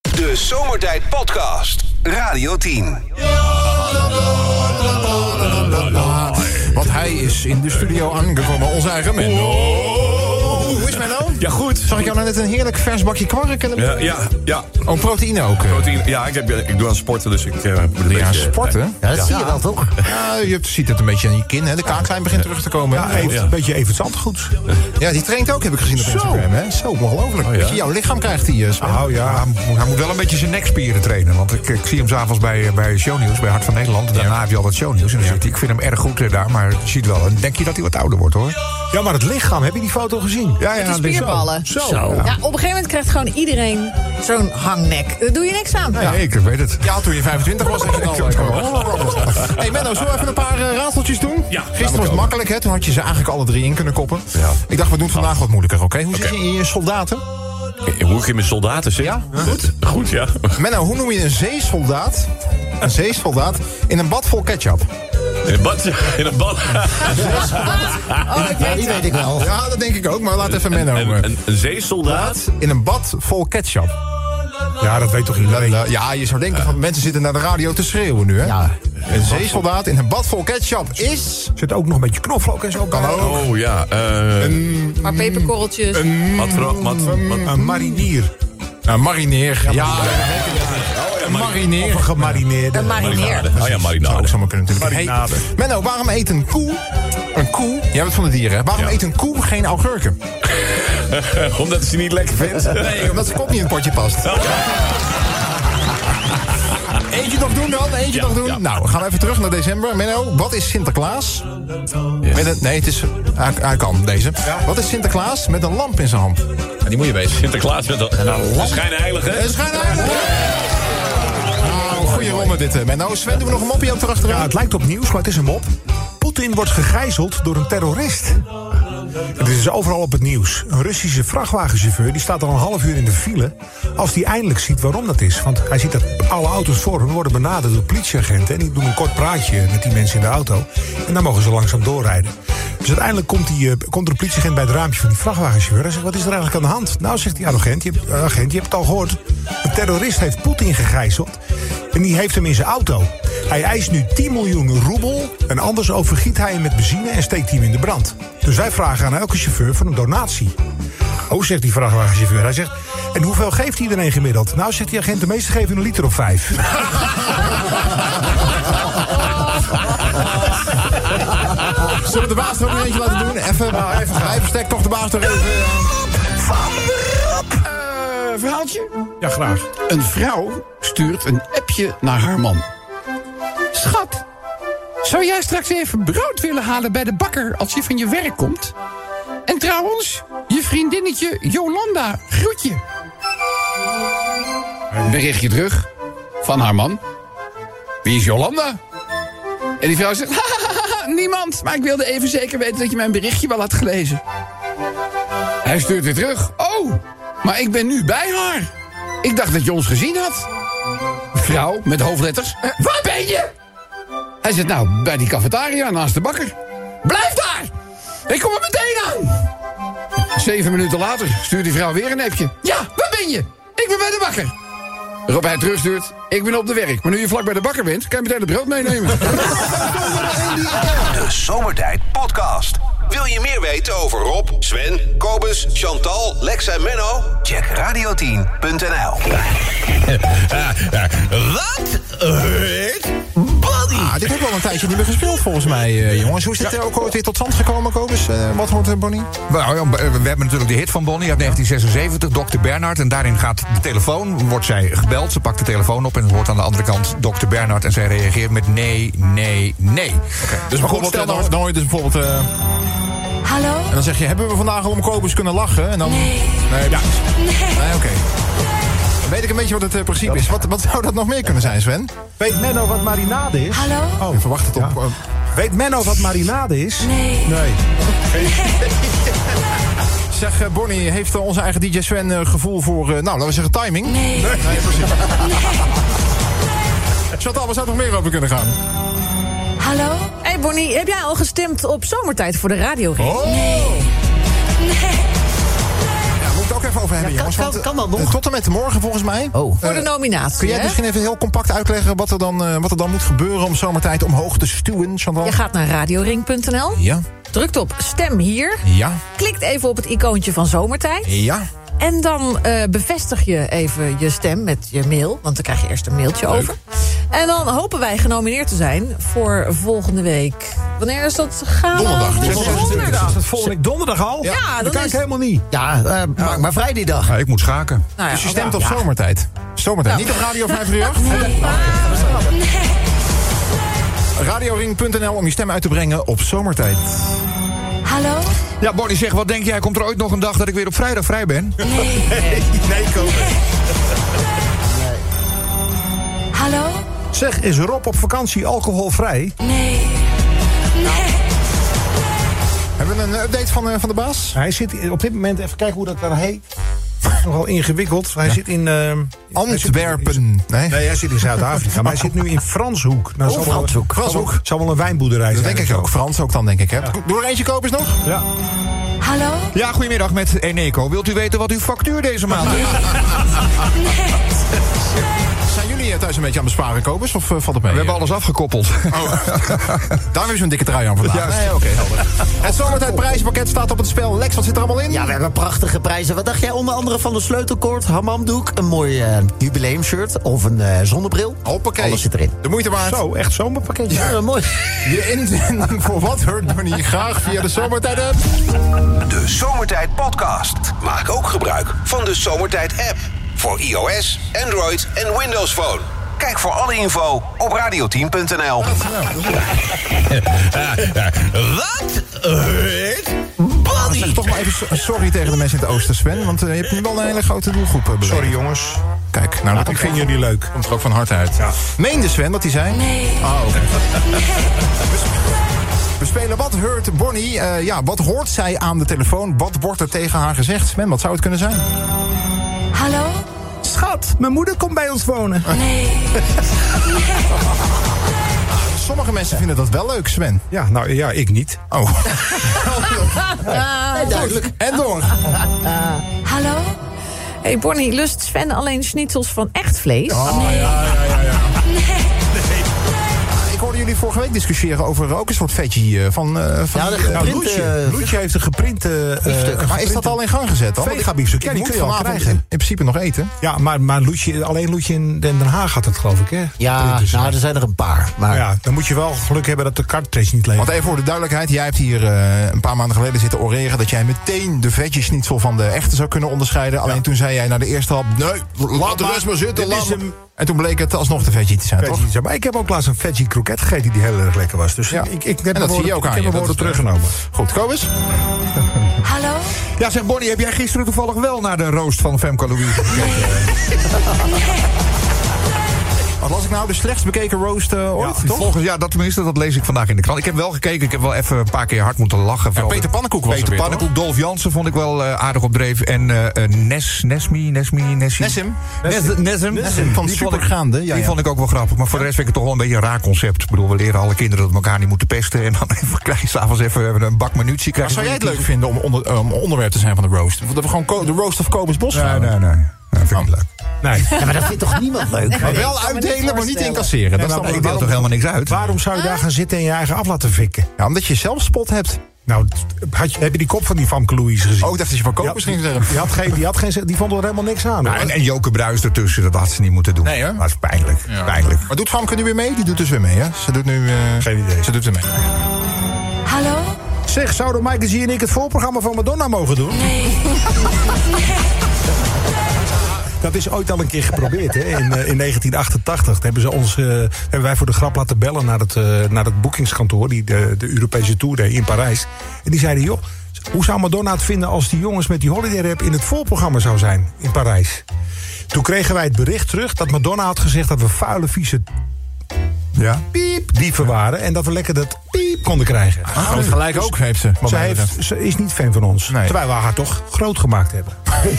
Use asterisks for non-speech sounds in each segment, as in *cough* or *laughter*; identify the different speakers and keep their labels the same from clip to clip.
Speaker 1: De Zomertijd Podcast. Radio 10.
Speaker 2: Ah, Want hij is in de studio aangekomen, onze eigen Menno. Hoe is Menno?
Speaker 3: Ja, goed.
Speaker 2: Zag ik jou nou net een heerlijk vers bakje kwark en een...
Speaker 3: Ja, ja, ja.
Speaker 2: Oh, proteïne ook. eh.
Speaker 3: Proteïne. Ja, ik, heb, ik doe aan sporten, dus ik... eh, moet een
Speaker 2: eh, Ja,
Speaker 3: beetje-
Speaker 2: sporten.
Speaker 4: Ja, dat zie je wel, toch?
Speaker 2: Ja, je ziet het een beetje aan je kin, hè. De kaaklijn begint terug te komen. Ja,
Speaker 3: even-
Speaker 2: een beetje even zandgoed. Ja, die traint ook, heb ik gezien op Instagram, hè. Zo, ongelooflijk.
Speaker 3: ja.
Speaker 2: Beetje Jouw lichaam krijgt die, eh, Sven.
Speaker 5: Nou Oh, ja, hij moet- hij moet wel een beetje zijn nekspieren trainen. Want ik, ik zie hem s'avonds bij, eh, bij Shownieuws, bij Hart van Nederland. Daarna heb je altijd Shownieuws. En dan zegt hij, ik vind hem erg goed eh, daar, maar je ziet wel. En denk je dat hij wat ouder wordt, hoor.
Speaker 6: Ja, maar het lichaam, heb je die foto gezien?
Speaker 5: Ja, ja,
Speaker 7: Het is
Speaker 5: dat denk ik zo.
Speaker 7: spierballen.
Speaker 5: Zo.
Speaker 7: Ja, op een gegeven moment krijgt gewoon iedereen zo'n hangnek. Daar doe je niks aan.
Speaker 5: Ja, ik weet het.
Speaker 2: Ja, toen je 25 was, had je het al. hey Menno, zullen we even een paar eh, raadseltjes doen?
Speaker 3: Ja, laat
Speaker 2: Gisteren
Speaker 3: maar
Speaker 2: was het
Speaker 3: komen.
Speaker 2: makkelijk, hè? Toen had je ze eigenlijk alle drie in kunnen koppen. Ik dacht, we doen het vandaag wat moeilijker, oké? Hoe zit je in je soldaten?
Speaker 3: Eh, Hoe ik in mijn soldaten zit.
Speaker 2: Ja,
Speaker 3: goed. Goed, ja. *laughs*
Speaker 2: Menno, hoe noem je een zeesoldaat? Een zeesoldaat in een bad vol ketchup.
Speaker 3: In een bad. In een bad.
Speaker 4: Ja, die weet ik wel.
Speaker 2: Ja, dat denk ik ook, maar laat even Menno.
Speaker 3: Een,
Speaker 2: eh,
Speaker 3: een, een zeesoldaat.
Speaker 2: In een bad vol ketchup.
Speaker 5: Ja, dat weet toch iedereen.
Speaker 2: Eh, ja, je zou denken van mensen zitten naar de radio te schreeuwen nu, hè?
Speaker 4: Ja.
Speaker 2: Een zeesoldaat in een bad vol ketchup is...
Speaker 5: Zit ook nog een beetje knoflook en zo. Kan ook.
Speaker 3: Oh, ja. eh,
Speaker 7: Maar peperkorreltjes.
Speaker 3: wat voor... Wat, wat,
Speaker 2: mm.
Speaker 5: Een marinier.
Speaker 2: Nou, marineer. Ja, een
Speaker 5: Of
Speaker 2: marineer.
Speaker 5: een gemarineerde.
Speaker 7: Een marineer.
Speaker 3: marinade. Oh ja,
Speaker 2: Zou ook
Speaker 3: marinade.
Speaker 2: zomaar kunnen natuurlijk.
Speaker 5: Marinade.
Speaker 2: Hey, Menno, waarom eet een koe... Een koe... Jij bent van de dieren, hè? Waarom
Speaker 3: Ja.
Speaker 2: eet een koe geen augurken?
Speaker 3: *laughs* Omdat ze niet lekker
Speaker 2: *laughs*
Speaker 3: vindt.
Speaker 2: Nee, omdat zijn kop niet in het potje past. Eentje nog doen dan, eentje
Speaker 3: Ja,
Speaker 2: nog doen.
Speaker 3: ja.
Speaker 2: Nou, we gaan even terug naar december. Menno, wat is Sinterklaas? Met een, nee, het is, hij, hij kan deze. Wat is Sinterklaas met een lamp in zijn hand? Ja, die moet je weten.
Speaker 3: Sinterklaas met een... Nou, schijnheilig, hè?
Speaker 2: Het is geen aardig. Nou, goeie ronde dit, hè, Menno. Sven, doen we nog een mopje op
Speaker 5: Ja,
Speaker 2: erachteraan?
Speaker 5: het lijkt op nieuws, maar het is een mop. Poetin wordt gegijzeld door een terrorist. Het is dus overal op het nieuws. Een Russische vrachtwagenchauffeur die staat al een half uur in de file. Als hij eindelijk ziet waarom dat is. Want hij ziet dat alle auto's voor hem worden benaderd door politieagenten. En die doen een kort praatje met die mensen in de auto. En dan mogen ze langzaam doorrijden. Dus uiteindelijk komt, die, eh, komt er een politieagent bij het raampje van die vrachtwagenchauffeur. Hij zegt, wat is er eigenlijk aan de hand? Nou, zegt die agent, je hebt, eh, agent, je hebt het al gehoord. Een terrorist heeft Poetin gegijzeld. En die heeft hem in zijn auto. Hij eist nu 10 miljoen roebel. En anders overgiet hij hem met benzine en steekt hij hem in de brand. Dus wij vragen aan elke chauffeur voor een donatie. Oh, zegt die vrachtwagenchauffeur. Hij zegt, en hoeveel geeft iedereen gemiddeld? Nou, zegt die agent, de meeste geven een liter of vijf.
Speaker 2: Zullen we de baas er ook nog eentje laten doen? Even, nou, even, hij versterkt toch de baas nog even.
Speaker 8: Eh, verhaaltje?
Speaker 5: Ja, graag.
Speaker 8: Een vrouw stuurt een appje naar haar man. Schat, zou jij straks even brood willen halen bij de bakker als je van je werk komt? En trouwens, je vriendinnetje Jolanda, groet je. Een Berichtje terug van haar man. Wie is Jolanda? En die vrouw zegt, *laughs* niemand, maar ik wilde even zeker weten dat je mijn berichtje wel had gelezen. Hij stuurt weer terug. Oh, maar ik ben nu bij haar. Ik dacht dat je ons gezien had. Vrouw met hoofdletters. "Eh, Waar ben je? Hij zit nou bij die cafetaria naast de bakker. Blijf daar! Ik kom er meteen aan! Zeven minuten later stuurt die vrouw weer een appje. Ja, waar ben je? Ik ben bij de bakker. Waarop hij terugstuurt. Ik ben op de werk. Maar nu je vlak bij de bakker bent, kan je meteen het brood
Speaker 4: *laughs*
Speaker 8: meenemen.
Speaker 1: De Zomertijd Podcast. Wil je meer weten over Rob, Sven, Kobus, Chantal, Lex en Menno? Check radio10.nl.
Speaker 3: Wat? Hurt? Body.
Speaker 2: Ah, dit hebben we al een tijdje niet meer gespeeld volgens mij, eh, jongens. Hoe is dit er ook ooit weer tot stand gekomen, Kobus? Eh, wat hoort er, Bonnie?
Speaker 5: Nou, ja, we hebben natuurlijk de hit van Bonnie uit 1976, Dr. Bernard. En daarin gaat de telefoon, wordt zij gebeld. Ze pakt de telefoon op en hoort aan de andere kant Dr. Bernard. En zij reageert met nee, nee, nee.
Speaker 2: Dus bijvoorbeeld, stel
Speaker 5: nou-
Speaker 2: dan, dan hoor je dus bijvoorbeeld... eh,
Speaker 9: Hallo?
Speaker 2: en dan zeg je, hebben we vandaag al om Kobus kunnen lachen? En dan,
Speaker 9: Nee.
Speaker 2: Nee, ja.
Speaker 9: Nee.
Speaker 2: nee oké. Dan Weet ik een beetje wat het eh, principe is. Wat, wat zou dat nog meer kunnen zijn, Sven?
Speaker 6: Weet Menno wat marinade is?
Speaker 9: Hallo?
Speaker 2: Oh, ik verwacht het op... eh,
Speaker 6: Weet Menno wat marinade is?
Speaker 9: Nee.
Speaker 2: nee. *laughs* Zeg, eh, Bonnie, heeft eh, onze eigen DJ Sven eh, gevoel voor, eh, nou, laten we zeggen timing?
Speaker 9: Nee.
Speaker 2: *laughs* Chantal, waar zou het nog meer over kunnen gaan?
Speaker 9: Hallo?
Speaker 7: hey Bonnie, heb jij al
Speaker 5: Oh.
Speaker 7: gestemd op zomertijd voor de radio?
Speaker 2: Oh!
Speaker 9: Nee.
Speaker 2: Ja, we moeten het ook even over hebben,
Speaker 4: Ja, kan-
Speaker 2: jongens.
Speaker 4: kan-
Speaker 2: eh,
Speaker 4: kan dat nog?
Speaker 2: eh, Tot en met morgen, volgens mij. Eh,
Speaker 4: Oh.
Speaker 5: Eh,
Speaker 7: Voor de nominatie,
Speaker 2: Kun jij
Speaker 7: hè?
Speaker 5: dus
Speaker 2: misschien even heel compact uitleggen wat er dan, eh, wat er dan moet gebeuren om zomertijd omhoog te stuwen, Chantal?
Speaker 7: Je gaat naar radioring.nl,
Speaker 2: Ja,
Speaker 7: drukt op stem hier...
Speaker 2: ja,
Speaker 7: klikt even op het icoontje van zomertijd...
Speaker 2: ja.
Speaker 7: En dan eh, bevestig je even je stem met je mail. Want dan krijg je eerst een mailtje over. En dan hopen wij genomineerd te zijn voor volgende week. Wanneer is dat? Gaan we-
Speaker 2: Donderdag. Donderdag.
Speaker 5: Is dat volgende week donderdag al?
Speaker 7: Ja, dan
Speaker 5: dat kan
Speaker 7: is-
Speaker 5: ik helemaal niet.
Speaker 4: Ja, eh, maak maar vrij die dag.
Speaker 6: ik moet schaken.
Speaker 7: Nou ja,
Speaker 2: Dus je
Speaker 7: oké.
Speaker 2: stemt op zomertijd. Zomertijd. Niet op Radio 538. Radioring.nl om je stem uit te brengen op zomertijd.
Speaker 9: *laughs* Hallo?
Speaker 6: Ja, Bonnie zegt, wat denk jij? Komt er ooit nog een dag dat ik weer op vrijdag vrij ben?
Speaker 9: Hallo?
Speaker 5: Zeg, is Rob op vakantie alcoholvrij?
Speaker 9: Nee. Nee.
Speaker 2: Hebben we een update van, eh, van de baas?
Speaker 5: Hij zit op dit moment, even kijken hoe dat daar heet. Nogal ingewikkeld. Hij zit in. ehm,
Speaker 2: Antwerpen. Nee,
Speaker 5: Nee, hij zit in Zuid-Afrika, maar hij zit nu in Franshoek. Nou, zal wel-
Speaker 2: Franshoek.
Speaker 5: zal wel-
Speaker 2: Franshoek.
Speaker 5: Zal wel een wijnboerderij
Speaker 2: dat
Speaker 5: zijn.
Speaker 2: denk ik
Speaker 5: of
Speaker 2: ook.
Speaker 5: zo.
Speaker 2: Frans ook dan, denk ik. Hè? Doe er eentje kopers nog.
Speaker 5: Ja.
Speaker 9: Hallo?
Speaker 6: Ja, goedemiddag met Eneco. Wilt u weten wat uw factuur deze maand is?
Speaker 9: Nee.
Speaker 2: Zijn jullie eh, thuis een beetje aan het besparen, kopers? Of eh, valt het mee? Oh.
Speaker 6: We hebben alles afgekoppeld. *laughs*
Speaker 2: Daarom is zo'n dikke trui aan vandaag.
Speaker 6: Juist.
Speaker 2: Nee, oké,
Speaker 6: *laughs*
Speaker 2: helder. Het zomertijd prijzenpakket staat op het spel. Lex, wat zit er allemaal in?
Speaker 4: Ja, we hebben prachtige prijzen. Wat dacht jij onder andere van de sleutelkoord, hamamdoek, een mooi eh, jubileumshirt of een eh, zonnebril?
Speaker 2: Hoppakee.
Speaker 4: Alles zit erin.
Speaker 2: De moeite waard.
Speaker 5: Zo, echt zomerpakketje.
Speaker 4: Ja, Eh, mooi.
Speaker 2: Je inzending voor Wat Hurt Bunny graag via de zomertijd app.
Speaker 1: De Zomertijd Podcast. Maak ook gebruik van de Zomertijd app. Voor iOS, Android en Windows Phone. Kijk voor alle info op radioteam.nl.
Speaker 3: Wat? Het? Body.
Speaker 2: Zeg toch maar even so- sorry tegen de mensen in het oosten, Sven. Want eh, je hebt nu wel een hele grote doelgroep eh, beledigd.
Speaker 5: Sorry jongens.
Speaker 2: Kijk, nou, dat
Speaker 5: Ik
Speaker 2: komt
Speaker 5: vind
Speaker 2: er-
Speaker 5: jullie leuk.
Speaker 2: komt er ook van harte uit. Meende Sven dat hij zei?
Speaker 9: Nee.
Speaker 2: Oh, oké. We spelen Wat Hurt Bonnie. Eh, ja, wat hoort zij aan de telefoon? Wat wordt er tegen haar gezegd? Sven, wat zou het kunnen zijn?
Speaker 9: Hallo?
Speaker 6: Schat, mijn moeder komt bij ons wonen.
Speaker 9: Nee.
Speaker 2: Sommige mensen vinden dat wel leuk, Sven.
Speaker 5: Ja, nou ja, ik niet.
Speaker 2: Oh,
Speaker 4: Nee, duidelijk.
Speaker 2: en door.
Speaker 9: Hallo?
Speaker 7: Hey Bonnie, lust Sven alleen schnitzels van echt vlees?
Speaker 2: Ik hoorde jullie vorige week discussiëren over ook een soort vetje eh, van... eh, van
Speaker 4: Ja, de
Speaker 2: eh,
Speaker 4: geprinte-
Speaker 5: Loetje. Loetje Nou, heeft een geprinte... eh,
Speaker 2: maar is dat al in gang gezet dan? Want ik-
Speaker 5: Vegabiefstuk, ja,
Speaker 2: ik
Speaker 5: die
Speaker 2: moet
Speaker 5: kun je al
Speaker 2: vanavond
Speaker 5: krijgen.
Speaker 2: In principe nog eten.
Speaker 5: Ja, maar, maar Loetje, alleen Loetje in Den Haag had het, geloof ik, hè?
Speaker 4: Ja,
Speaker 5: Printers.
Speaker 4: nou, er zijn er een paar. Maar
Speaker 5: ja, dan moet je wel geluk hebben dat de karttrace niet leeft.
Speaker 2: Want even voor de duidelijkheid, jij hebt hier eh, een paar maanden geleden zitten oreren... dat jij meteen de vetjesnitzel van de echte zou kunnen onderscheiden. Alleen toen zei jij na de eerste hap... nee, laat de
Speaker 5: maar,
Speaker 2: rest maar zitten.
Speaker 5: dit
Speaker 2: Laat
Speaker 5: is
Speaker 2: maar."
Speaker 5: hem.
Speaker 2: En toen bleek het alsnog de vetje te zijn,
Speaker 5: Weet
Speaker 2: toch?
Speaker 5: je niet, maar ik heb ook laatst een veggie kroket gegeten die heel erg lekker was. Dus
Speaker 2: Ja.
Speaker 5: ik, ik,
Speaker 2: En
Speaker 5: heb
Speaker 2: dat
Speaker 5: mijn
Speaker 2: zie je ook
Speaker 5: woorden-
Speaker 2: aan
Speaker 5: ik
Speaker 2: je,
Speaker 5: heb mijn
Speaker 2: dat
Speaker 5: woorden
Speaker 2: is-
Speaker 5: teruggenomen.
Speaker 2: Goed, Kobus?
Speaker 9: Hallo?
Speaker 6: Ja, zeg Bonnie, heb jij gisteren toevallig wel naar de roost van Femke Louise gekeken?
Speaker 2: Wat was ik nou? De slechtst bekeken roast eh, ooit,
Speaker 6: Ja,
Speaker 2: toch?
Speaker 6: volgens, ja, dat tenminste, dat lees ik vandaag in de krant. Ik heb wel gekeken, ik heb wel even een paar keer hard moeten lachen. Vooral
Speaker 2: Peter
Speaker 6: de-
Speaker 2: Pannenkoek was
Speaker 6: Peter
Speaker 2: er weer,
Speaker 6: Pannenkoek, Dolf Jansen vond ik wel eh, aardig op dreef. En eh, eh, Nes, Nesmi, Nesmi, Nessie.
Speaker 2: Nessim.
Speaker 6: Nes,
Speaker 2: Nessim
Speaker 6: Nessim.
Speaker 2: van
Speaker 6: Die vond ik-
Speaker 2: Supergaande, ja,
Speaker 6: die
Speaker 2: ja.
Speaker 6: vond ik ook wel grappig. Maar voor de rest vind ik het toch wel een beetje een raar concept. Ik bedoel, we leren alle kinderen dat we elkaar niet moeten pesten. En dan *laughs* even, krijg je s'avonds even even een bak minuutje.
Speaker 2: Maar zou jij het leuk vinden om onder, eh, om onderwerp te zijn van de roast? Dat we gewoon ko- de roast of Kobus Bos Oh.
Speaker 6: Nee,
Speaker 2: gaan doen?
Speaker 6: nee, nee. Dat vind ik niet leuk.
Speaker 5: Nee.
Speaker 4: Ja, maar dat vindt toch niemand leuk?
Speaker 2: *laughs* Maar wel
Speaker 7: Ik kan me niet
Speaker 2: uitdelen, maar niet
Speaker 7: voorstellen.
Speaker 2: incasseren. Dat is
Speaker 5: maar
Speaker 2: dan
Speaker 6: Ik
Speaker 2: wel-
Speaker 6: deel toch helemaal niks uit?
Speaker 5: Waarom zou je daar gaan zitten en je eigen af laten fikken?
Speaker 2: Ja, omdat je zelf spot hebt.
Speaker 5: Nou, t- had je, heb je die kop van die Famke Louise gezien?
Speaker 2: Ook dacht dat je van
Speaker 5: Die
Speaker 2: Kobus
Speaker 5: had-
Speaker 2: ging zeggen.
Speaker 5: Die had geen, die had geen, ze- die vond er helemaal niks aan.
Speaker 6: Nou,
Speaker 5: hoor.
Speaker 6: en, en Joke Bruis ertussen, dat had ze niet moeten doen.
Speaker 2: Nee, hè?
Speaker 6: Dat is pijnlijk. Pijnlijk.
Speaker 2: Maar doet Famke nu weer mee? Die doet dus weer mee, hè? Ze doet nu... eh,
Speaker 5: Geen idee.
Speaker 2: Ze doet er mee.
Speaker 9: Hallo?
Speaker 5: Zeg, zouden Maaike Zie en ik het voorprogramma van Madonna mogen doen? Dat is ooit al een keer geprobeerd, hè? In, eh, in 1988 Daar hebben, ze ons, eh, hebben wij voor de grap laten bellen naar het, eh, naar het boekingskantoor... die de, de Europese Tour deed in Parijs. En die zeiden, joh, hoe zou Madonna het vinden... als die jongens met die Holiday Rap in het voorprogramma zou zijn in Parijs? Toen kregen wij het bericht terug dat Madonna had gezegd... dat we vuile, vieze
Speaker 6: Ja.
Speaker 5: piep dieven waren... en dat we lekker dat piep konden krijgen.
Speaker 2: Groot gelijk ook, heeft ze.
Speaker 5: Ze, heeft, ze is niet fan van ons.
Speaker 2: Nee.
Speaker 5: Terwijl we haar toch groot gemaakt hebben.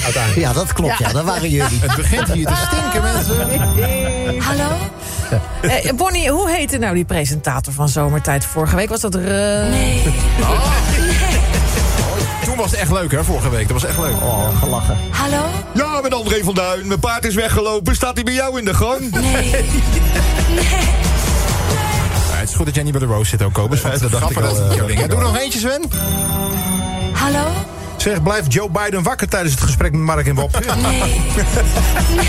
Speaker 5: Uiteindelijk.
Speaker 4: Ja, dat klopt. Ja, dat waren jullie.
Speaker 2: Het begint hier te stinken, mensen.
Speaker 9: Hallo?
Speaker 7: Eh, Bonnie, hoe heette nou die presentator van Zomertijd vorige week? Was dat... Re-
Speaker 9: Nee.
Speaker 2: Toen Toen was het echt leuk, hè, vorige week. Dat was echt leuk.
Speaker 4: Oh, gelachen.
Speaker 9: Hallo?
Speaker 6: Ja, met André van Duin. Mijn paard is weggelopen. Staat hij bij jou in de gang?
Speaker 9: Nee. Nee.
Speaker 2: Ja, het is goed dat jij niet bij de Roos zit ook, Kobus. want
Speaker 6: dat dacht
Speaker 2: grappen,
Speaker 6: ik al,
Speaker 2: dat-
Speaker 6: eh,
Speaker 2: Ja,
Speaker 6: dat ik
Speaker 2: doe
Speaker 6: al.
Speaker 2: nog eentje, Sven.
Speaker 9: Hallo?
Speaker 5: Zeg, blijft Joe Biden wakker tijdens het gesprek met Mark en Bob?
Speaker 2: *laughs*
Speaker 9: Nee.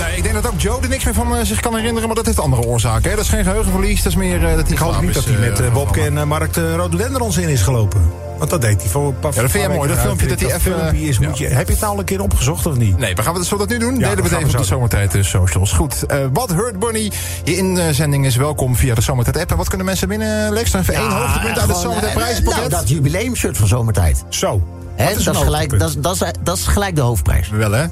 Speaker 2: Nee, ik denk dat ook Joe er niks meer van eh, zich kan herinneren, maar dat heeft andere oorzaken. Hè? Dat is geen geheugenverlies, dat is meer... eh, dat
Speaker 5: Ik hoop niet dat hij met eh, Bobke en eh, Mark de Rhododendrons in is gelopen. Want dat deed hij voor een paar
Speaker 2: Ja, dat vind jij mooi, dat
Speaker 5: paar
Speaker 2: filmpje
Speaker 5: weken
Speaker 2: eh, dat hij
Speaker 5: uit.
Speaker 2: even-
Speaker 5: filmpje is, moet
Speaker 2: Ja.
Speaker 5: je, heb je het nou al een keer opgezocht of niet?
Speaker 2: Nee, we gaan we, zullen we dat nu doen? Delen
Speaker 5: dat
Speaker 2: we het
Speaker 5: gaan we
Speaker 2: even op
Speaker 5: zo
Speaker 2: de
Speaker 5: doen.
Speaker 2: Zomertijd eh, socials. Goed, eh, wat Hurt Bunny? Je inzending is welkom via de Zomertijd app. En wat kunnen mensen winnen, Lex? Dan even één hoogtepunt uit het
Speaker 4: Gewoon,
Speaker 2: Zomertijd
Speaker 4: eh,
Speaker 2: prijzenpakket.
Speaker 4: nou, dat jubileumshirt van zomertijd.
Speaker 5: Zo.
Speaker 4: Hè,
Speaker 5: Wat is
Speaker 4: dat,
Speaker 5: een
Speaker 4: is gelijk,
Speaker 5: hoogtepunt?
Speaker 4: dat, is, dat, is, eh, dat is gelijk de hoofdprijs.
Speaker 2: Wel, hè?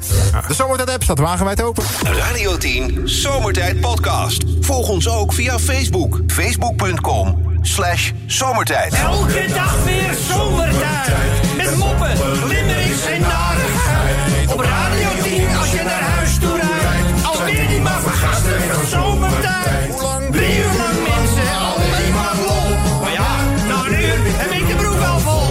Speaker 2: De Zomertijd app staat wagenwijd open.
Speaker 1: Radio 10 Zomertijd Podcast. Volg ons ook via Facebook. Facebook.com slash zomertijd.
Speaker 10: Elke dag weer zomertijd. Met moppen, limmerings en narigheid. Op Radio 10 als je naar huis toe rijdt. Alweer die maar vergasten van zomertijd. Drie uur lang mensen, alleen maar lol. Maar ja, na een uur heb ik de broek al vol.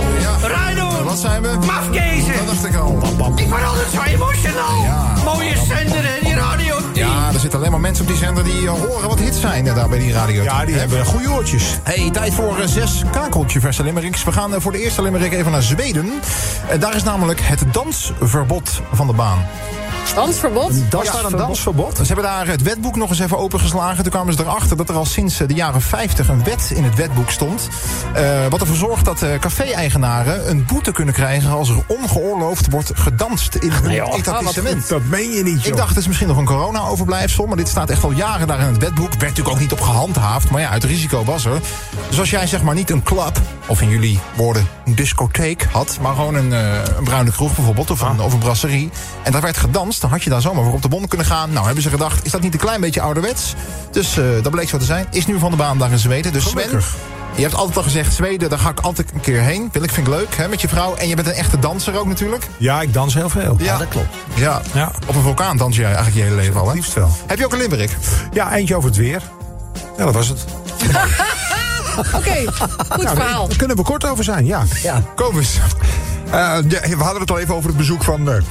Speaker 10: Rijdoen,
Speaker 2: Wat zijn we?
Speaker 10: mafkezen.
Speaker 2: Dat dacht ik al.
Speaker 10: Ik word altijd zo emotional. Mooie zender en die Radio 10.
Speaker 2: Ja, er zitten alleen maar mensen op die zender die eh, horen wat hits zijn eh, daar bij die radio.
Speaker 5: Ja, die hebben goede oortjes.
Speaker 2: Hey, tijd voor eh, zes kakeltjeverse limericks. We gaan eh, voor de eerste limerick even naar Zweden. Eh, daar is namelijk het dansverbod van de baan.
Speaker 7: Dansverbod?
Speaker 2: Daar
Speaker 5: Ja,
Speaker 2: staat een
Speaker 5: verbod.
Speaker 2: dansverbod. Ze hebben daar het wetboek nog eens even opengeslagen. Toen kwamen ze erachter dat er al sinds eh, de jaren 50 een wet in het wetboek stond. Eh, wat ervoor zorgt dat eh, café-eigenaren een boete kunnen krijgen... als er ongeoorloofd wordt gedanst in hun etablissement.
Speaker 5: ah, Dat meen je niet, joh.
Speaker 2: Ik dacht, het is misschien nog een corona-overblijfsel. Maar dit staat echt al jaren daar in het wetboek. Werd natuurlijk ook niet op gehandhaafd. Maar ja, het risico was er. Dus als jij zeg maar niet een club, of in jullie woorden een discotheek had. Maar gewoon een, eh, een bruine kroeg bijvoorbeeld, of een, of een brasserie. En daar werd gedanst, dan had je daar zomaar voor op de bon kunnen gaan. Nou, hebben ze gedacht, is dat niet een klein beetje ouderwets? Dus eh, dat bleek zo te zijn. Is nu van de baan daar in Zweden. Dus Sven,
Speaker 5: Gelukkig.
Speaker 2: je hebt altijd al gezegd, Zweden, daar ga ik altijd een keer heen. Wil ik, vind ik leuk, hè, met je vrouw. En je bent een echte danser ook natuurlijk.
Speaker 5: Ja, ik dans heel veel.
Speaker 2: Ja,
Speaker 4: dat klopt.
Speaker 2: Ja.
Speaker 5: Ja.
Speaker 2: Op een vulkaan dans je eigenlijk je hele leven al, hè?
Speaker 5: Liefst wel.
Speaker 2: Heb je ook een limerick?
Speaker 5: Ja, eentje over het weer. Ja, dat was het.
Speaker 7: Oké, goed verhaal.
Speaker 5: Daar kunnen we kort over zijn, ja.
Speaker 6: Kom eens. Eh, ja, we hadden het al even over het bezoek van... eh, ik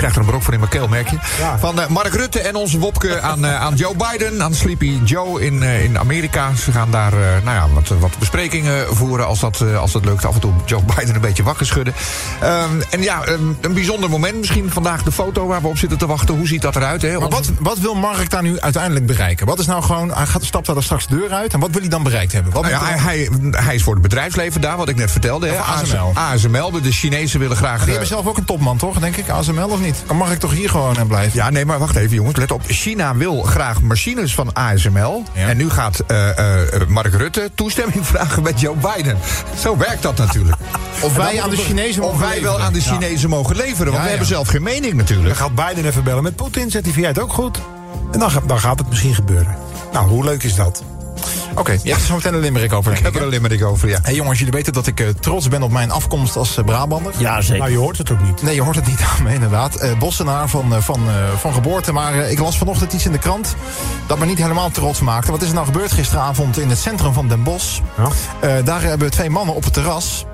Speaker 6: krijg er een brok voor in mijn keel, merk je.
Speaker 5: Ja.
Speaker 6: Van eh, Mark Rutte en onze Wopke aan, eh, aan Joe Biden, aan Sleepy Joe in, eh, in Amerika. Ze gaan daar eh, nou ja, wat, wat besprekingen voeren als dat, eh, als dat lukt. Af en toe Joe Biden een beetje wakker schudden. Ehm, en ja, een, een bijzonder moment. Misschien vandaag de foto waar we op zitten te wachten. Hoe ziet dat eruit? Hè?
Speaker 2: Maar wat, wat wil Mark daar nu uiteindelijk bereiken? Wat is nou gewoon, hij gaat, stapt daar dan straks de deur uit... en wat wil hij dan bereikt hebben? Wat
Speaker 6: Nou
Speaker 2: moet
Speaker 6: ja,
Speaker 2: er-
Speaker 6: hij, hij is voor het bedrijfsleven daar, wat ik net vertelde. Hè?
Speaker 2: Of ASML.
Speaker 6: ASML, de- de Chinezen willen graag...
Speaker 2: die
Speaker 6: eh,
Speaker 2: hebben zelf ook een topman, toch? Denk ik, ASML of niet? Kan Mark toch hier gewoon aan blijven?
Speaker 6: Ja, nee, maar wacht even, jongens. Let op. China wil graag machines van ASML.
Speaker 2: Ja.
Speaker 6: En nu gaat eh, eh, Mark Rutte toestemming *laughs* vragen bij Joe Biden. Zo werkt dat
Speaker 5: *laughs*
Speaker 6: natuurlijk.
Speaker 2: Of wij aan de
Speaker 6: Chinezen
Speaker 2: Chinezen
Speaker 6: Of wij wel aan de Chinezen mogen leveren. Want
Speaker 2: Ja,
Speaker 6: we hebben
Speaker 2: ja.
Speaker 6: zelf geen mening
Speaker 5: Dan
Speaker 6: natuurlijk.
Speaker 5: gaat Biden even bellen met Poetin. Zet hij via het ook goed. En dan, ga- dan gaat het misschien gebeuren. Nou, hoe leuk is dat?
Speaker 2: Oké, je hebt er zo meteen een limerick over.
Speaker 6: Ik
Speaker 2: denk
Speaker 6: heb
Speaker 2: ik,
Speaker 6: er
Speaker 2: hè?
Speaker 6: een limerick over, ja.
Speaker 2: Hé jongens, jullie weten dat ik eh, trots ben op mijn afkomst als eh, Brabander.
Speaker 4: Ja,
Speaker 5: Nou,
Speaker 4: zeker.
Speaker 5: je hoort het ook niet.
Speaker 2: Nee, je hoort het niet *laughs* aan me, inderdaad. Eh, bossenaar van, eh, van, eh, van geboorte. Maar eh, ik las vanochtend iets in de krant dat me niet helemaal trots maakte. Wat is er nou gebeurd gisteravond in het centrum van Den Bosch?
Speaker 5: Ja.
Speaker 2: Eh, daar hebben twee mannen op het terras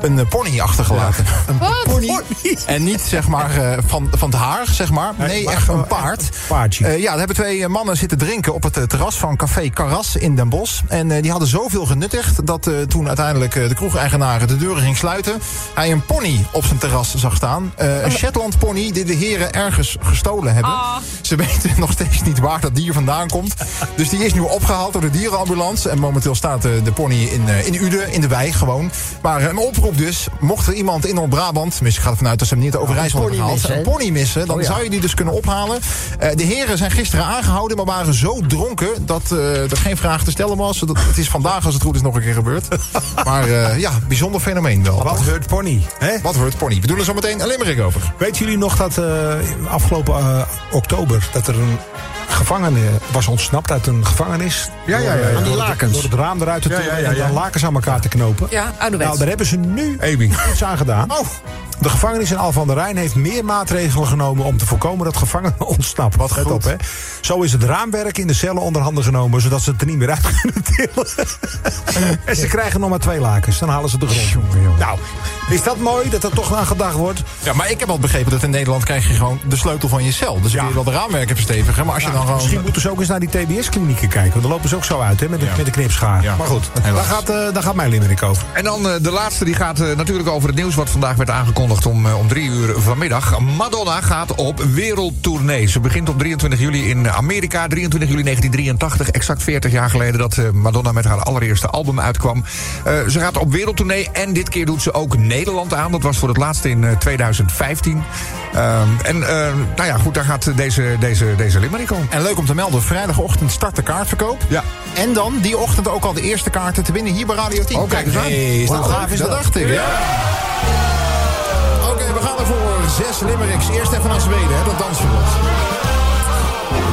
Speaker 2: een eh, pony achtergelaten. Een pony. En niet zeg maar eh, van, van het haar, zeg maar.
Speaker 5: Nee,
Speaker 2: Nee,
Speaker 5: maar
Speaker 2: echt
Speaker 5: gewoon
Speaker 2: een paard.
Speaker 5: echt een paardje.
Speaker 2: Eh, ja, daar hebben twee eh, mannen zitten drinken op het eh, terras van Café Carras in Den Bosch. En eh, die hadden zoveel genuttigd dat eh, toen uiteindelijk eh, de kroegeigenaren de deuren ging sluiten... hij een pony op zijn terras zag staan. Eh, een Shetland pony die de heren ergens gestolen hebben. Ze *laughs* weten nog steeds niet waar dat dier vandaan komt. Dus die is nu opgehaald door de dierenambulance. En momenteel staat eh, de pony in, eh, in Uden, in de wei gewoon. Maar eh, een oproep dus, mocht er iemand in Noord-Brabant... tenminste, ik ga ervan uit dat ze hem niet uit Overijssel
Speaker 4: pony
Speaker 2: hebben gehaald...
Speaker 4: missen,
Speaker 2: een
Speaker 4: hè?
Speaker 2: pony missen, dan
Speaker 4: Oh ja.
Speaker 2: zou je die dus kunnen ophalen. Eh, de heren zijn gisteren aangehouden, maar waren zo dronken... dat eh, er geen vraag te stellen was. Dat, het is vandaag, als het goed is, nog een keer gebeurd. Maar eh, ja, bijzonder fenomeen wel.
Speaker 5: Wat hurt pony, hè?
Speaker 2: Wat wordt pony? We doen er zo meteen een limerick over.
Speaker 5: Weten jullie nog dat eh, afgelopen eh, oktober dat er een gevangene was ontsnapt uit een gevangenis Ja, ja, ja.
Speaker 4: Aan die lakens.
Speaker 5: Door het raam eruit te
Speaker 6: Ja, ja,
Speaker 5: tillen
Speaker 6: ja, ja.
Speaker 5: en dan lakens aan elkaar te knopen.
Speaker 7: Ja, ouderwets.
Speaker 5: Nou, daar hebben ze nu
Speaker 6: Amy.
Speaker 5: iets aan gedaan. Oh. De gevangenis in Al van der Rijn heeft meer maatregelen genomen om te voorkomen dat gevangenen *laughs* ontsnappen. Wat Let op, hè. Zo is het raamwerk in de cellen onder handen genomen, zodat ze het er niet meer uit *laughs* kunnen tillen. en ze krijgen nog maar twee lakens, dan halen ze de grond. Nou, is dat mooi dat er toch aan gedacht wordt?
Speaker 2: Ja, maar ik heb al begrepen dat in Nederland krijg je gewoon de sleutel van je cel. Dus je kun je wel de raamwerken verstevigen. Maar als je
Speaker 5: Nou,
Speaker 2: dan gewoon...
Speaker 5: Misschien moeten ze ook eens naar die TBS-klinieken kijken. Want daar lopen ze ook zo uit, hè, met de, met de knipschaar.
Speaker 6: Ja.
Speaker 5: Maar goed, daar
Speaker 6: Helaas.
Speaker 5: gaat, eh, daar gaat mijn limerick over.
Speaker 6: En dan eh, de laatste, die gaat eh, natuurlijk over het nieuws... wat vandaag werd aangekondigd om, eh, om drie uur vanmiddag. Madonna gaat op wereldtournee. Ze begint op 23 juli in Amerika. 23 juli 1983, exact 40 jaar geleden... dat eh, Madonna met haar allereerste album uitkwam. Eh, ze gaat op wereldtournee en dit keer doet ze ook Nederland aan. Dat was voor het laatst in eh, 2015. Ehm, en eh, nou ja, goed, daar gaat deze, deze, deze limerick om.
Speaker 2: En leuk om te melden, vrijdagochtend start de kaartverkoop.
Speaker 6: Ja.
Speaker 2: En dan die ochtend ook al de eerste kaarten te winnen hier bij Radio 10.
Speaker 6: Oh, kijk eens aan.
Speaker 2: Hey, is dat
Speaker 6: Wauw.
Speaker 2: gaaf is dat? dacht ik. Oké, we gaan ervoor. Zes limericks. Eerst even naar Zweden, hè, dat dansverbod.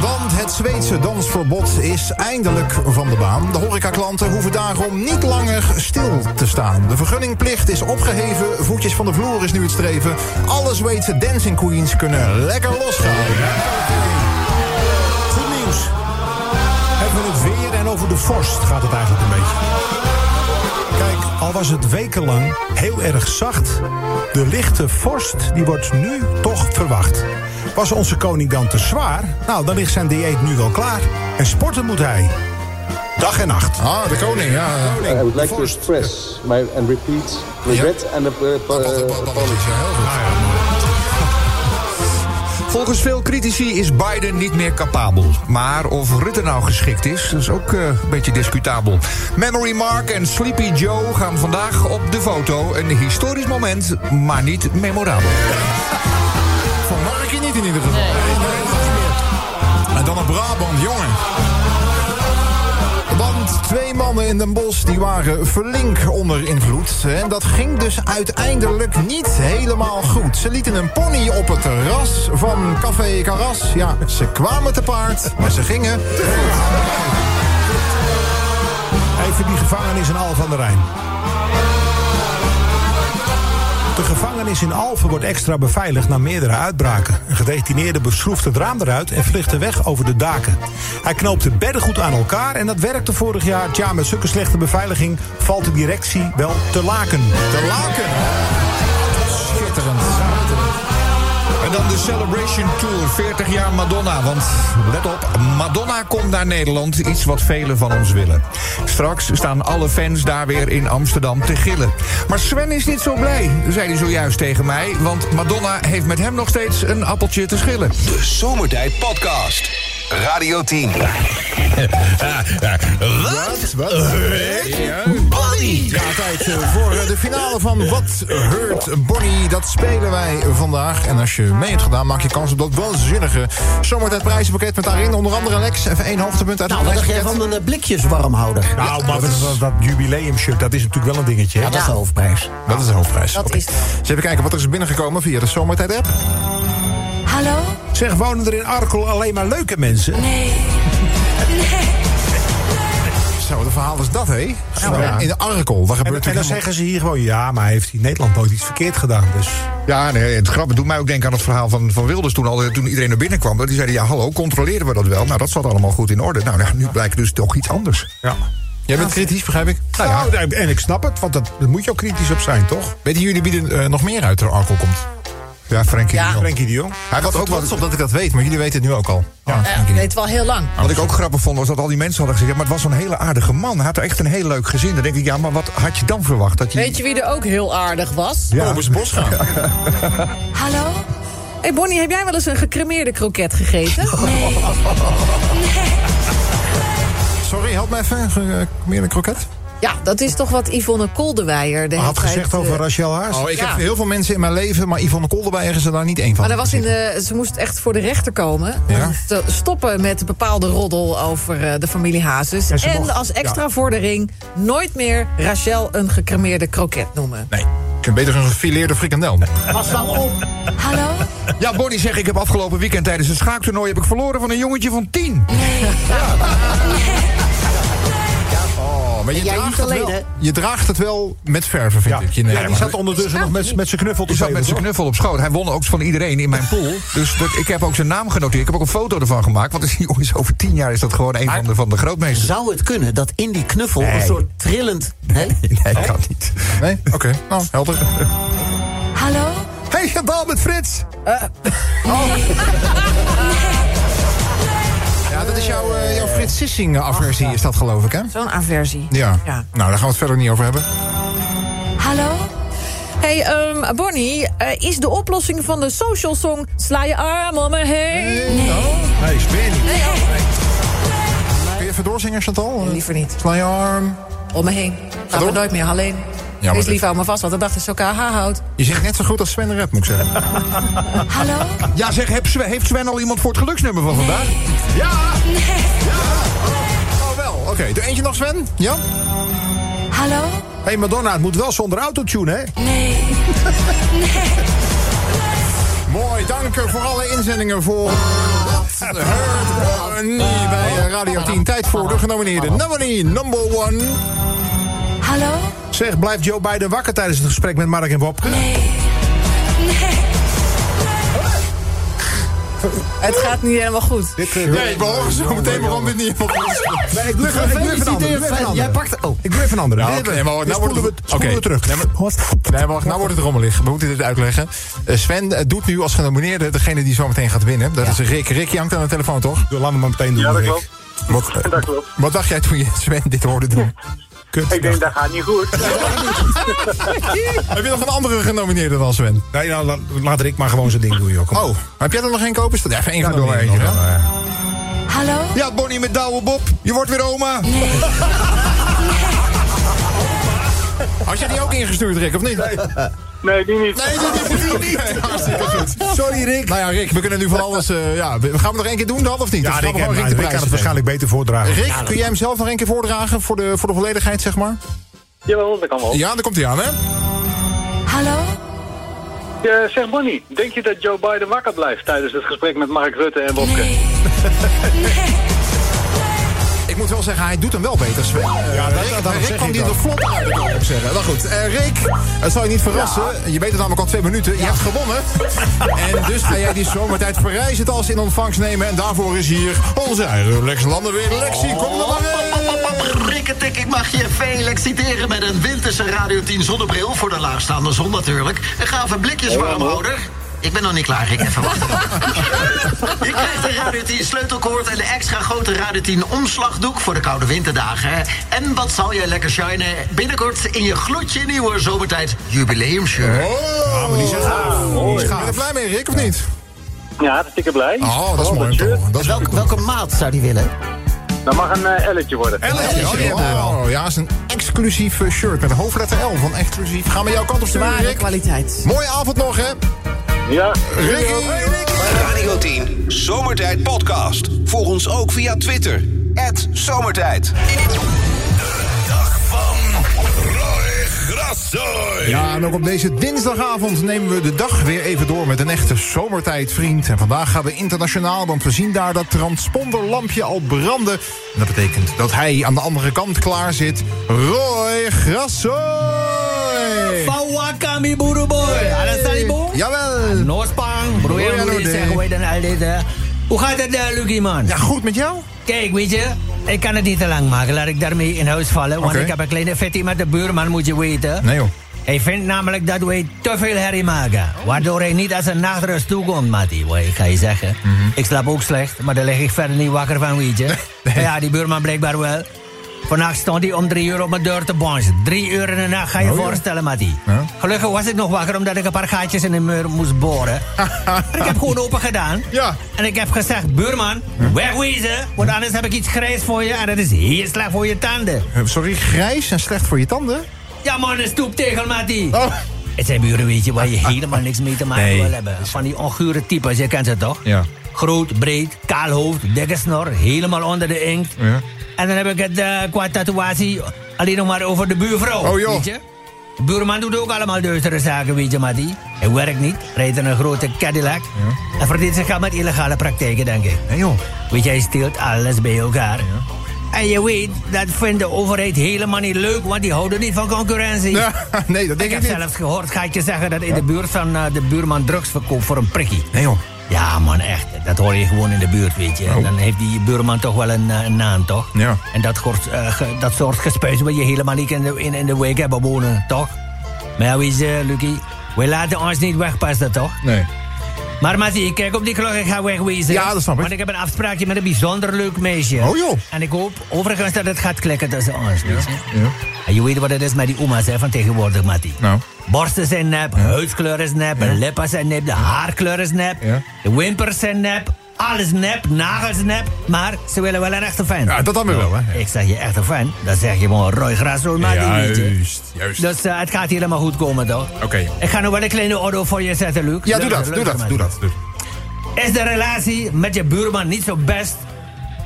Speaker 2: Want het Zweedse dansverbod is eindelijk van de baan. De horecaklanten hoeven daarom niet langer stil te staan. De vergunningplicht is opgeheven, voetjes van de vloer is nu het streven. Alle Zweedse dancing queens kunnen lekker losgaan.
Speaker 5: Goed nieuws. Hebben we het weer en over de vorst gaat het eigenlijk een beetje. Kijk, al was het wekenlang heel erg zacht, de lichte vorst die wordt nu toch verwacht. Was onze koning dan te zwaar? Nou, dan ligt zijn dieet nu wel klaar. En sporten moet hij. Dag en nacht.
Speaker 2: Ah, de koning, ja.
Speaker 11: I would like to
Speaker 2: Vorst.
Speaker 11: stress my, and repeat regret and uh, apology.
Speaker 6: Volgens veel critici is Biden niet meer capabel. Maar of Rutte nou geschikt is, dat is ook eh, een beetje discutabel. Memory Mark en Sleepy Joe gaan vandaag op de foto. Een historisch moment, maar niet memorabel.
Speaker 2: Van Markie niet in ieder geval. En dan een Brabant, jongen. Want twee mannen in Den Bosch die waren verlink onder invloed. En dat ging dus uiteindelijk niet helemaal goed. Ze lieten een pony op het terras van Café Caras. Ja, ze kwamen te paard, maar ze gingen...
Speaker 5: Even die gevangenis in Al van der Rijn. De gevangenis in Alphen wordt extra beveiligd na meerdere uitbraken. Een gedetineerde beschroeft het raam eruit en vliegt weg over de daken. Hij knoopt de bedden goed aan elkaar en dat werkte vorig jaar. Tja, met zulke slechte beveiliging valt de directie wel te laken.
Speaker 2: De laken. Schitterend.
Speaker 6: En dan de Celebration Tour, 40 jaar Madonna. Want let op, Madonna komt naar Nederland, iets wat velen van ons willen. Straks staan alle fans daar weer in Amsterdam te gillen. Maar Sven is niet zo blij, zei hij zojuist tegen mij. Want Madonna heeft met hem nog steeds een appeltje te schillen.
Speaker 1: De Zomertijd Podcast. Radio 10.
Speaker 3: Wat?
Speaker 2: Wat? Ja, tijd eh, voor eh, de finale van Wat Hurt Bonnie. Dat spelen wij vandaag. En als je mee hebt gedaan, maak je kans op dat waanzinnige zomertijd prijzenpakket. Met daarin onder andere Lex. Even één hoogtepunt uit het
Speaker 4: Nou, wat dacht jij
Speaker 2: prijzenpakket.
Speaker 4: van een eh, blikjeswarmhouder?
Speaker 5: Nou, maar dat, dat, dat jubileumshirt, dat is natuurlijk wel een dingetje. hè?
Speaker 4: Ja, dat is de hoofdprijs.
Speaker 2: Dat is de hoofdprijs.
Speaker 7: Dat
Speaker 2: Oké.
Speaker 7: is het.
Speaker 2: Eens even kijken wat er is binnengekomen via de zomertijd-app.
Speaker 9: Hallo?
Speaker 5: Zeg, wonen er in Arkel alleen maar leuke mensen?
Speaker 9: Nee. Nee.
Speaker 2: Zo, de verhaal is dat, hé. Zo,
Speaker 5: ja.
Speaker 2: In de Arkel,
Speaker 5: En,
Speaker 2: daar gebeurt
Speaker 5: en dan
Speaker 2: natuurlijk
Speaker 5: zeggen ze hier gewoon, ja, maar heeft hij in Nederland nooit iets verkeerd gedaan. Dus
Speaker 6: Ja, nee, het grappige doet mij ook denken aan het verhaal van, van Wilders toen, al, eh, toen iedereen naar binnen kwam. Die zeiden, ja hallo, controleren we dat wel? Nou, dat zat allemaal goed in orde. Nou, nou, nu blijkt dus toch iets anders.
Speaker 5: ja.
Speaker 2: helemaal- Jij bent kritisch, begrijp ik.
Speaker 5: Nou ja, en ik snap het, want dat- daar moet je ook kritisch op zijn, toch?
Speaker 2: Weten jullie wie er eh, nog meer uit de Arkel komt?
Speaker 6: Ja, Frenkie de Jong.
Speaker 5: Frenkie de Jong.
Speaker 6: Hij was ook
Speaker 2: Ook
Speaker 6: wat,
Speaker 2: trots op dat ik dat weet, maar jullie weten het nu ook al. Ah,
Speaker 7: Ja, ik Eh, weet wel heel lang.
Speaker 6: Wat ik ook grappig vond was dat al die mensen hadden gezegd... ja, maar het was een hele aardige man. Hij had echt een heel leuk gezin. Dan denk ik, ja, maar wat had je dan verwacht? Dat je...
Speaker 7: Weet je wie er ook heel aardig was?
Speaker 6: Ja.
Speaker 2: Kobus Bosga.
Speaker 9: Hallo?
Speaker 7: hey Bonnie, heb jij wel eens een gecremeerde kroket gegeten?
Speaker 2: Sorry, help me even. Ge- eh, Meer een kroket?
Speaker 7: Ja, dat is toch wat Yvonne Koldewijer... de hele
Speaker 5: Had
Speaker 7: tijd,
Speaker 5: gezegd
Speaker 7: eh,
Speaker 5: over Rachel Haas.
Speaker 2: Oh, ik
Speaker 7: Ja.
Speaker 2: heb heel veel mensen in mijn leven, maar Yvonne Kolderberg is er daar niet één van.
Speaker 7: Maar dat was in de, ze moest echt voor de rechter komen.
Speaker 2: Ja.
Speaker 7: Om te stoppen met bepaalde roddel over eh, de familie Hazes.
Speaker 5: En
Speaker 7: En,
Speaker 5: ze mocht-
Speaker 7: als extra vordering nooit meer Rachel een gecremeerde kroket noemen.
Speaker 2: Nee, je kunt beter een gefileerde frikandel.
Speaker 4: Pas dan op.
Speaker 9: Hallo?
Speaker 6: Ja, Bonnie zegt, ik heb afgelopen weekend tijdens een schaaktoernooi... heb ik verloren van een jongetje van tien.
Speaker 9: Nee. Nee.
Speaker 2: maar je
Speaker 4: En jij
Speaker 2: draagt,
Speaker 4: niet
Speaker 2: het
Speaker 4: alleen,
Speaker 2: wel,
Speaker 4: hè?
Speaker 2: je draagt het wel met verven, vind ik. Je
Speaker 6: Ja,
Speaker 2: neemt
Speaker 6: die
Speaker 2: maar.
Speaker 6: zat
Speaker 5: ondertussen nog met, met zijn knuffel
Speaker 6: Ik
Speaker 5: te
Speaker 6: zat met zijn
Speaker 5: spelen.
Speaker 6: knuffel op schoot. Hij won ook van iedereen in mijn pool. Dus dat, ik heb ook zijn naam genoteerd. Ik heb ook een foto ervan gemaakt. Want is, jongens, over tien jaar is dat gewoon een van de, van de grootmeesters.
Speaker 4: Zou het kunnen dat in die knuffel een
Speaker 6: Nee.
Speaker 4: soort trillend... Nee?
Speaker 6: Nee, kan niet. *laughs*
Speaker 2: Nee? Oké, nou, helder.
Speaker 9: Hallo?
Speaker 2: Hey, een bal met Frits! Oh. *laughs* Ja, dat is jouw, eh, jouw Frits Sissing-aversie, is dat geloof ik, hè?
Speaker 7: Zo'n aversie.
Speaker 2: Ja.
Speaker 7: Ja.
Speaker 2: nou, daar gaan we het verder niet over hebben.
Speaker 7: Hallo? Hey, ehm, Bonnie, eh, is de oplossing van de social song Sla je arm om me heen?
Speaker 5: Nee, spin.
Speaker 2: Kun je even doorzingen, Chantal?
Speaker 7: Nee, liever niet.
Speaker 2: Sla je arm.
Speaker 7: Om me heen. Gaat
Speaker 2: door.
Speaker 7: me nooit meer alleen.
Speaker 2: maar
Speaker 7: Wees
Speaker 2: dit-
Speaker 7: lief, hou me vast, want de dag is elkaar haar houdt.
Speaker 2: Je zingt net zo goed als Sven de Red, moet ik zeggen.
Speaker 9: Hallo?
Speaker 6: *laughs* Ja, zeg, heb Sven- heeft Sven al iemand voor het geluksnummer van vandaag?
Speaker 2: Oh, wel. Oké, doe eentje nog, Sven. Ja?
Speaker 9: Hallo?
Speaker 5: Hé, hey Madonna, het moet wel zonder autotune, hè?
Speaker 9: Nee. *laughs*
Speaker 2: Mooi, dank u voor alle inzendingen voor... Wat Heard One bij eh, Radio 10. Tijd voor de genomineerde number 1, number one.
Speaker 9: Hallo?
Speaker 5: Zeg, blijft Joe Biden wakker tijdens het gesprek met Mark en Bobke?
Speaker 9: Nee. *laughs*
Speaker 7: Het gaat niet helemaal goed.
Speaker 5: Dit, eh,
Speaker 2: Nee, we horen zo meteen waarom dit niet helemaal goed is.
Speaker 5: nee, ik bluf ik bluf een ander. ik bluf een ander.
Speaker 4: Jij pakt... Oh,
Speaker 5: Ik bluf een ander.
Speaker 2: Nou, oké, maar nou
Speaker 5: nou
Speaker 2: wordt
Speaker 5: spoelen we
Speaker 2: het-
Speaker 5: het spoelen we
Speaker 2: oké.
Speaker 5: terug.
Speaker 2: Nee, Nee, wacht, nou wordt het rommelig. We moeten dit uitleggen. Eh, Sven eh, doet nu als genomineerde degene die zo meteen gaat winnen. Dat is Rick. Rick, je hangt aan de telefoon, toch?
Speaker 5: Doe, Laten we maar meteen doen.
Speaker 12: Ja, dat
Speaker 5: Rick.
Speaker 12: klopt.
Speaker 2: Wat, eh,
Speaker 12: Dat klopt.
Speaker 2: wat dacht jij toen je *laughs* Sven dit hoorde
Speaker 12: *laughs*
Speaker 2: doen?
Speaker 5: Kut.
Speaker 12: Ik denk, dat gaat niet goed.
Speaker 2: Heb je nog een andere genomineerde dan Sven?
Speaker 5: Nee, nou, la- laat Rick maar gewoon zijn ding doen, joh. Kom.
Speaker 2: Oh, heb jij er nog geen kopen? staan? Ja, even één
Speaker 5: Ja,
Speaker 2: van
Speaker 5: dan
Speaker 2: de
Speaker 5: niet,
Speaker 2: eentje.
Speaker 5: dan,
Speaker 2: hè?
Speaker 5: eh.
Speaker 9: Hallo?
Speaker 6: Ja, Bonnie met Douwe Bob. Je wordt weer oma.
Speaker 2: Had jij die ook ingestuurd, Rick, of niet? Nee,
Speaker 12: Nee, die niet.
Speaker 2: dat is niet. *laughs* Hartstikke
Speaker 5: Ah.
Speaker 2: goed. Sorry, Rick. Nou ja, Rick, we kunnen nu
Speaker 5: *laughs*
Speaker 2: van alles... eh, ja, we- gaan we het nog één keer doen dan, of niet?
Speaker 5: Ja,
Speaker 2: Of gaan
Speaker 5: Rick,
Speaker 2: we gewoon
Speaker 5: eh,
Speaker 2: de
Speaker 5: Rick kan het
Speaker 2: prijzen
Speaker 5: waarschijnlijk beter
Speaker 2: geven?
Speaker 5: voordragen.
Speaker 2: Rick, kun jij hem zelf nog één keer voordragen voor de, voor de volledigheid, zeg maar?
Speaker 12: Jawel, dat kan wel.
Speaker 2: Ja, daar komt hij aan, hè?
Speaker 9: Hallo?
Speaker 12: Eh, zeg Bonnie, denk je dat Joe Biden wakker blijft tijdens het gesprek met Mark Rutte en Wopke?
Speaker 9: Nee.
Speaker 2: Ik moet wel zeggen, hij doet hem wel beter, Sven. Ja,
Speaker 5: dat-
Speaker 2: Rick,
Speaker 5: dat- dat
Speaker 2: Rick
Speaker 5: zeg
Speaker 2: kwam
Speaker 5: ik
Speaker 2: die
Speaker 5: ook.
Speaker 2: er vlot uit, kan ik zeggen. Maar goed, eh, Rick, het zal je niet verrassen. Je weet het namelijk al twee minuten. Je hebt gewonnen. en dus ga jij die zomertijd Parijs het als in ontvangst nemen. En daarvoor is hier onze eigen Lex Lander weer. Lexie, kom er maar in.
Speaker 13: Rikketik, ik mag je veel exciteren met een winterse Radio 10 zonnebril. Voor de laagstaande zon natuurlijk. Een gave blikjes warmhouder. Ik ben nog niet klaar, ik even
Speaker 2: *laughs*
Speaker 13: wachten. je krijgt de Radio 10 sleutelkoord en de extra grote Radio 10 omslagdoek voor de koude winterdagen. En wat zal jij lekker shinen binnenkort in je gloedje nieuwe zomertijd jubileumshirt.
Speaker 2: Oh, maar die zegt Ben je er blij mee, Rick, of niet?
Speaker 12: Ja, hartstikke blij.
Speaker 2: Oh, dat is mooi. om te
Speaker 12: shirt.
Speaker 2: horen. Dat is
Speaker 4: welke, welke maat zou die willen?
Speaker 12: Dat mag een eh elletje worden.
Speaker 2: Oh, die hebben we wel. ja, het is een exclusief eh, shirt met een hoofdletter L van exclusief. Gaan we jouw kant op sturen,
Speaker 7: Ware
Speaker 2: Rick.
Speaker 7: kwaliteit.
Speaker 2: Mooie avond nog, hè?
Speaker 12: Ja.
Speaker 2: Ricky!
Speaker 1: Radio 10 Zomertijd Podcast. Volg ons ook via Twitter. Zomertijd.
Speaker 3: Dag van Roy Grassoy.
Speaker 2: Ja, en ook op deze dinsdagavond nemen we de dag weer even door met een echte zomertijdvriend. En vandaag gaan we internationaal, want we zien daar dat transponderlampje al branden. En dat betekent dat hij aan de andere kant klaar zit. Roy Grassoy!
Speaker 4: Fawakami boerenboy. Alles aan die boom?
Speaker 2: Jawel!
Speaker 4: Noordspang, broer,
Speaker 2: Broeier,
Speaker 4: broer,
Speaker 2: broer.
Speaker 4: zeg, hoe heet dan al dit, hè? Hoe gaat het, eh, Lucky, man?
Speaker 2: Ja, goed met jou?
Speaker 4: Kijk, weet je, ik kan het niet te lang maken. Laat ik daarmee in huis vallen. Want
Speaker 2: Oké.
Speaker 4: ik heb een kleine fitty met de buurman, moet je weten.
Speaker 2: Nee joh.
Speaker 4: Hij vindt namelijk dat wij te veel herrie maken. Waardoor hij niet als een nachtrust toekomt, Mattie. Wat ik ga je zeggen.
Speaker 2: Mhm.
Speaker 4: Ik slaap ook slecht, maar daar lig ik verder niet wakker van, weet je. Ja, die buurman blijkbaar wel. Vannacht stond hij om drie uur op mijn deur te bonzen. Drie uur in de nacht, ga je
Speaker 2: Oh, ja.
Speaker 4: voorstellen, Mattie.
Speaker 2: Ja.
Speaker 4: Gelukkig was ik nog wakker omdat ik een paar gaatjes in de muur moest
Speaker 2: *laughs*
Speaker 4: boren. Maar ik heb gewoon open gedaan.
Speaker 2: Ja.
Speaker 4: En ik heb gezegd, buurman, wegwezen. Want anders heb ik iets grijs voor je en dat is heel slecht voor je tanden.
Speaker 2: Eh, Sorry, grijs en slecht voor je tanden?
Speaker 4: Ja man, een stoeptegel, Mattie.
Speaker 2: Oh.
Speaker 4: Het zijn buren, weet je, waar
Speaker 2: Ah,
Speaker 4: je helemaal niks mee te maken wil hebben. Van die ongure types, je kent ze toch?
Speaker 2: Ja.
Speaker 4: Groot, breed, kaal hoofd, dikke snor, helemaal onder de inkt.
Speaker 2: Ja.
Speaker 4: En dan heb ik het eh, qua tatoeatie alleen nog maar over de buurvrouw.
Speaker 2: Oh, joh.
Speaker 4: Weet je? De buurman doet ook allemaal duistere zaken, weet je, Mattie. Hij werkt niet, rijdt in een grote Cadillac. En verdient zich aan met illegale praktijken, denk ik.
Speaker 2: Nee joh.
Speaker 4: Weet jij, hij steelt alles bij elkaar. En je weet, dat vindt de overheid helemaal niet leuk, want die houden niet van concurrentie.
Speaker 2: *laughs* nee, dat denk ik,
Speaker 4: heb
Speaker 2: niet.
Speaker 4: zelfs gehoord, ga ik je zeggen, dat in de buurt van eh, de buurman drugs verkoopt voor een prikkie.
Speaker 2: Nee joh.
Speaker 4: Ja man, echt. Dat hoor je gewoon in de buurt, weet je. En dan heeft die buurman toch wel een, eh, een naam, toch?
Speaker 2: Oh. Ja.
Speaker 4: En dat, soort, eh, ge- dat soort gespuis wil je helemaal niet in de, in, in de week hebben wonen, toch? Maar ja, weet je, Lucky, we laten ons niet wegpassen, toch?
Speaker 2: Nee.
Speaker 4: Maar Matti, kijk op die klok, ik ga wegwezen.
Speaker 2: Ja, dat snap ik.
Speaker 4: Want ik heb een afspraakje met een bijzonder leuk meisje.
Speaker 2: Oh, joh.
Speaker 4: En ik hoop overigens dat het gaat klikken tussen ons, weet je.
Speaker 2: Ja.
Speaker 4: En Ah, je weet wat het is met die oma's hè, van tegenwoordig, Matti.
Speaker 2: Nou.
Speaker 4: Borsten zijn nep, huidskleur is nep, lippen zijn nep, de haarkleur is nep,
Speaker 2: Ja.
Speaker 4: de wimpers zijn nep, alles nep, nagels nep, maar ze willen wel een echte fan.
Speaker 2: Ja, dat dan weer wel, hè.
Speaker 4: Ik zeg je echte fan, dan zeg je gewoon Roy Grasso, Matti, weet je.
Speaker 6: Juist, juist.
Speaker 4: Dus eh, het gaat helemaal goed komen, toch?
Speaker 6: Oké.
Speaker 4: Ik ga nog wel een kleine auto voor je zetten, Luc.
Speaker 2: Ja,
Speaker 4: Luister,
Speaker 2: doe dat,
Speaker 4: luister,
Speaker 2: doe dat,
Speaker 4: Matti.
Speaker 2: doe dat. doe
Speaker 4: Is de relatie met je buurman niet zo best?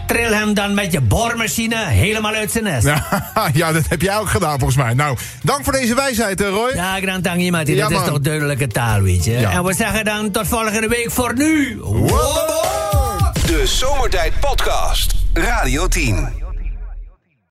Speaker 4: Tril hem dan met je boormachine helemaal uit zijn nest. Ja,
Speaker 2: dat. *laughs* Ja, dat heb jij ook gedaan volgens mij. Nou, dank voor deze wijsheid, eh, Roy.
Speaker 4: ja grand dank iemand.
Speaker 2: Ja,
Speaker 4: dat is
Speaker 2: man.
Speaker 4: toch duidelijke taal, weet je.
Speaker 2: Ja.
Speaker 4: En we zeggen dan tot volgende week voor nu. Wobbo!
Speaker 1: De Zomertijd Podcast. Radio 10.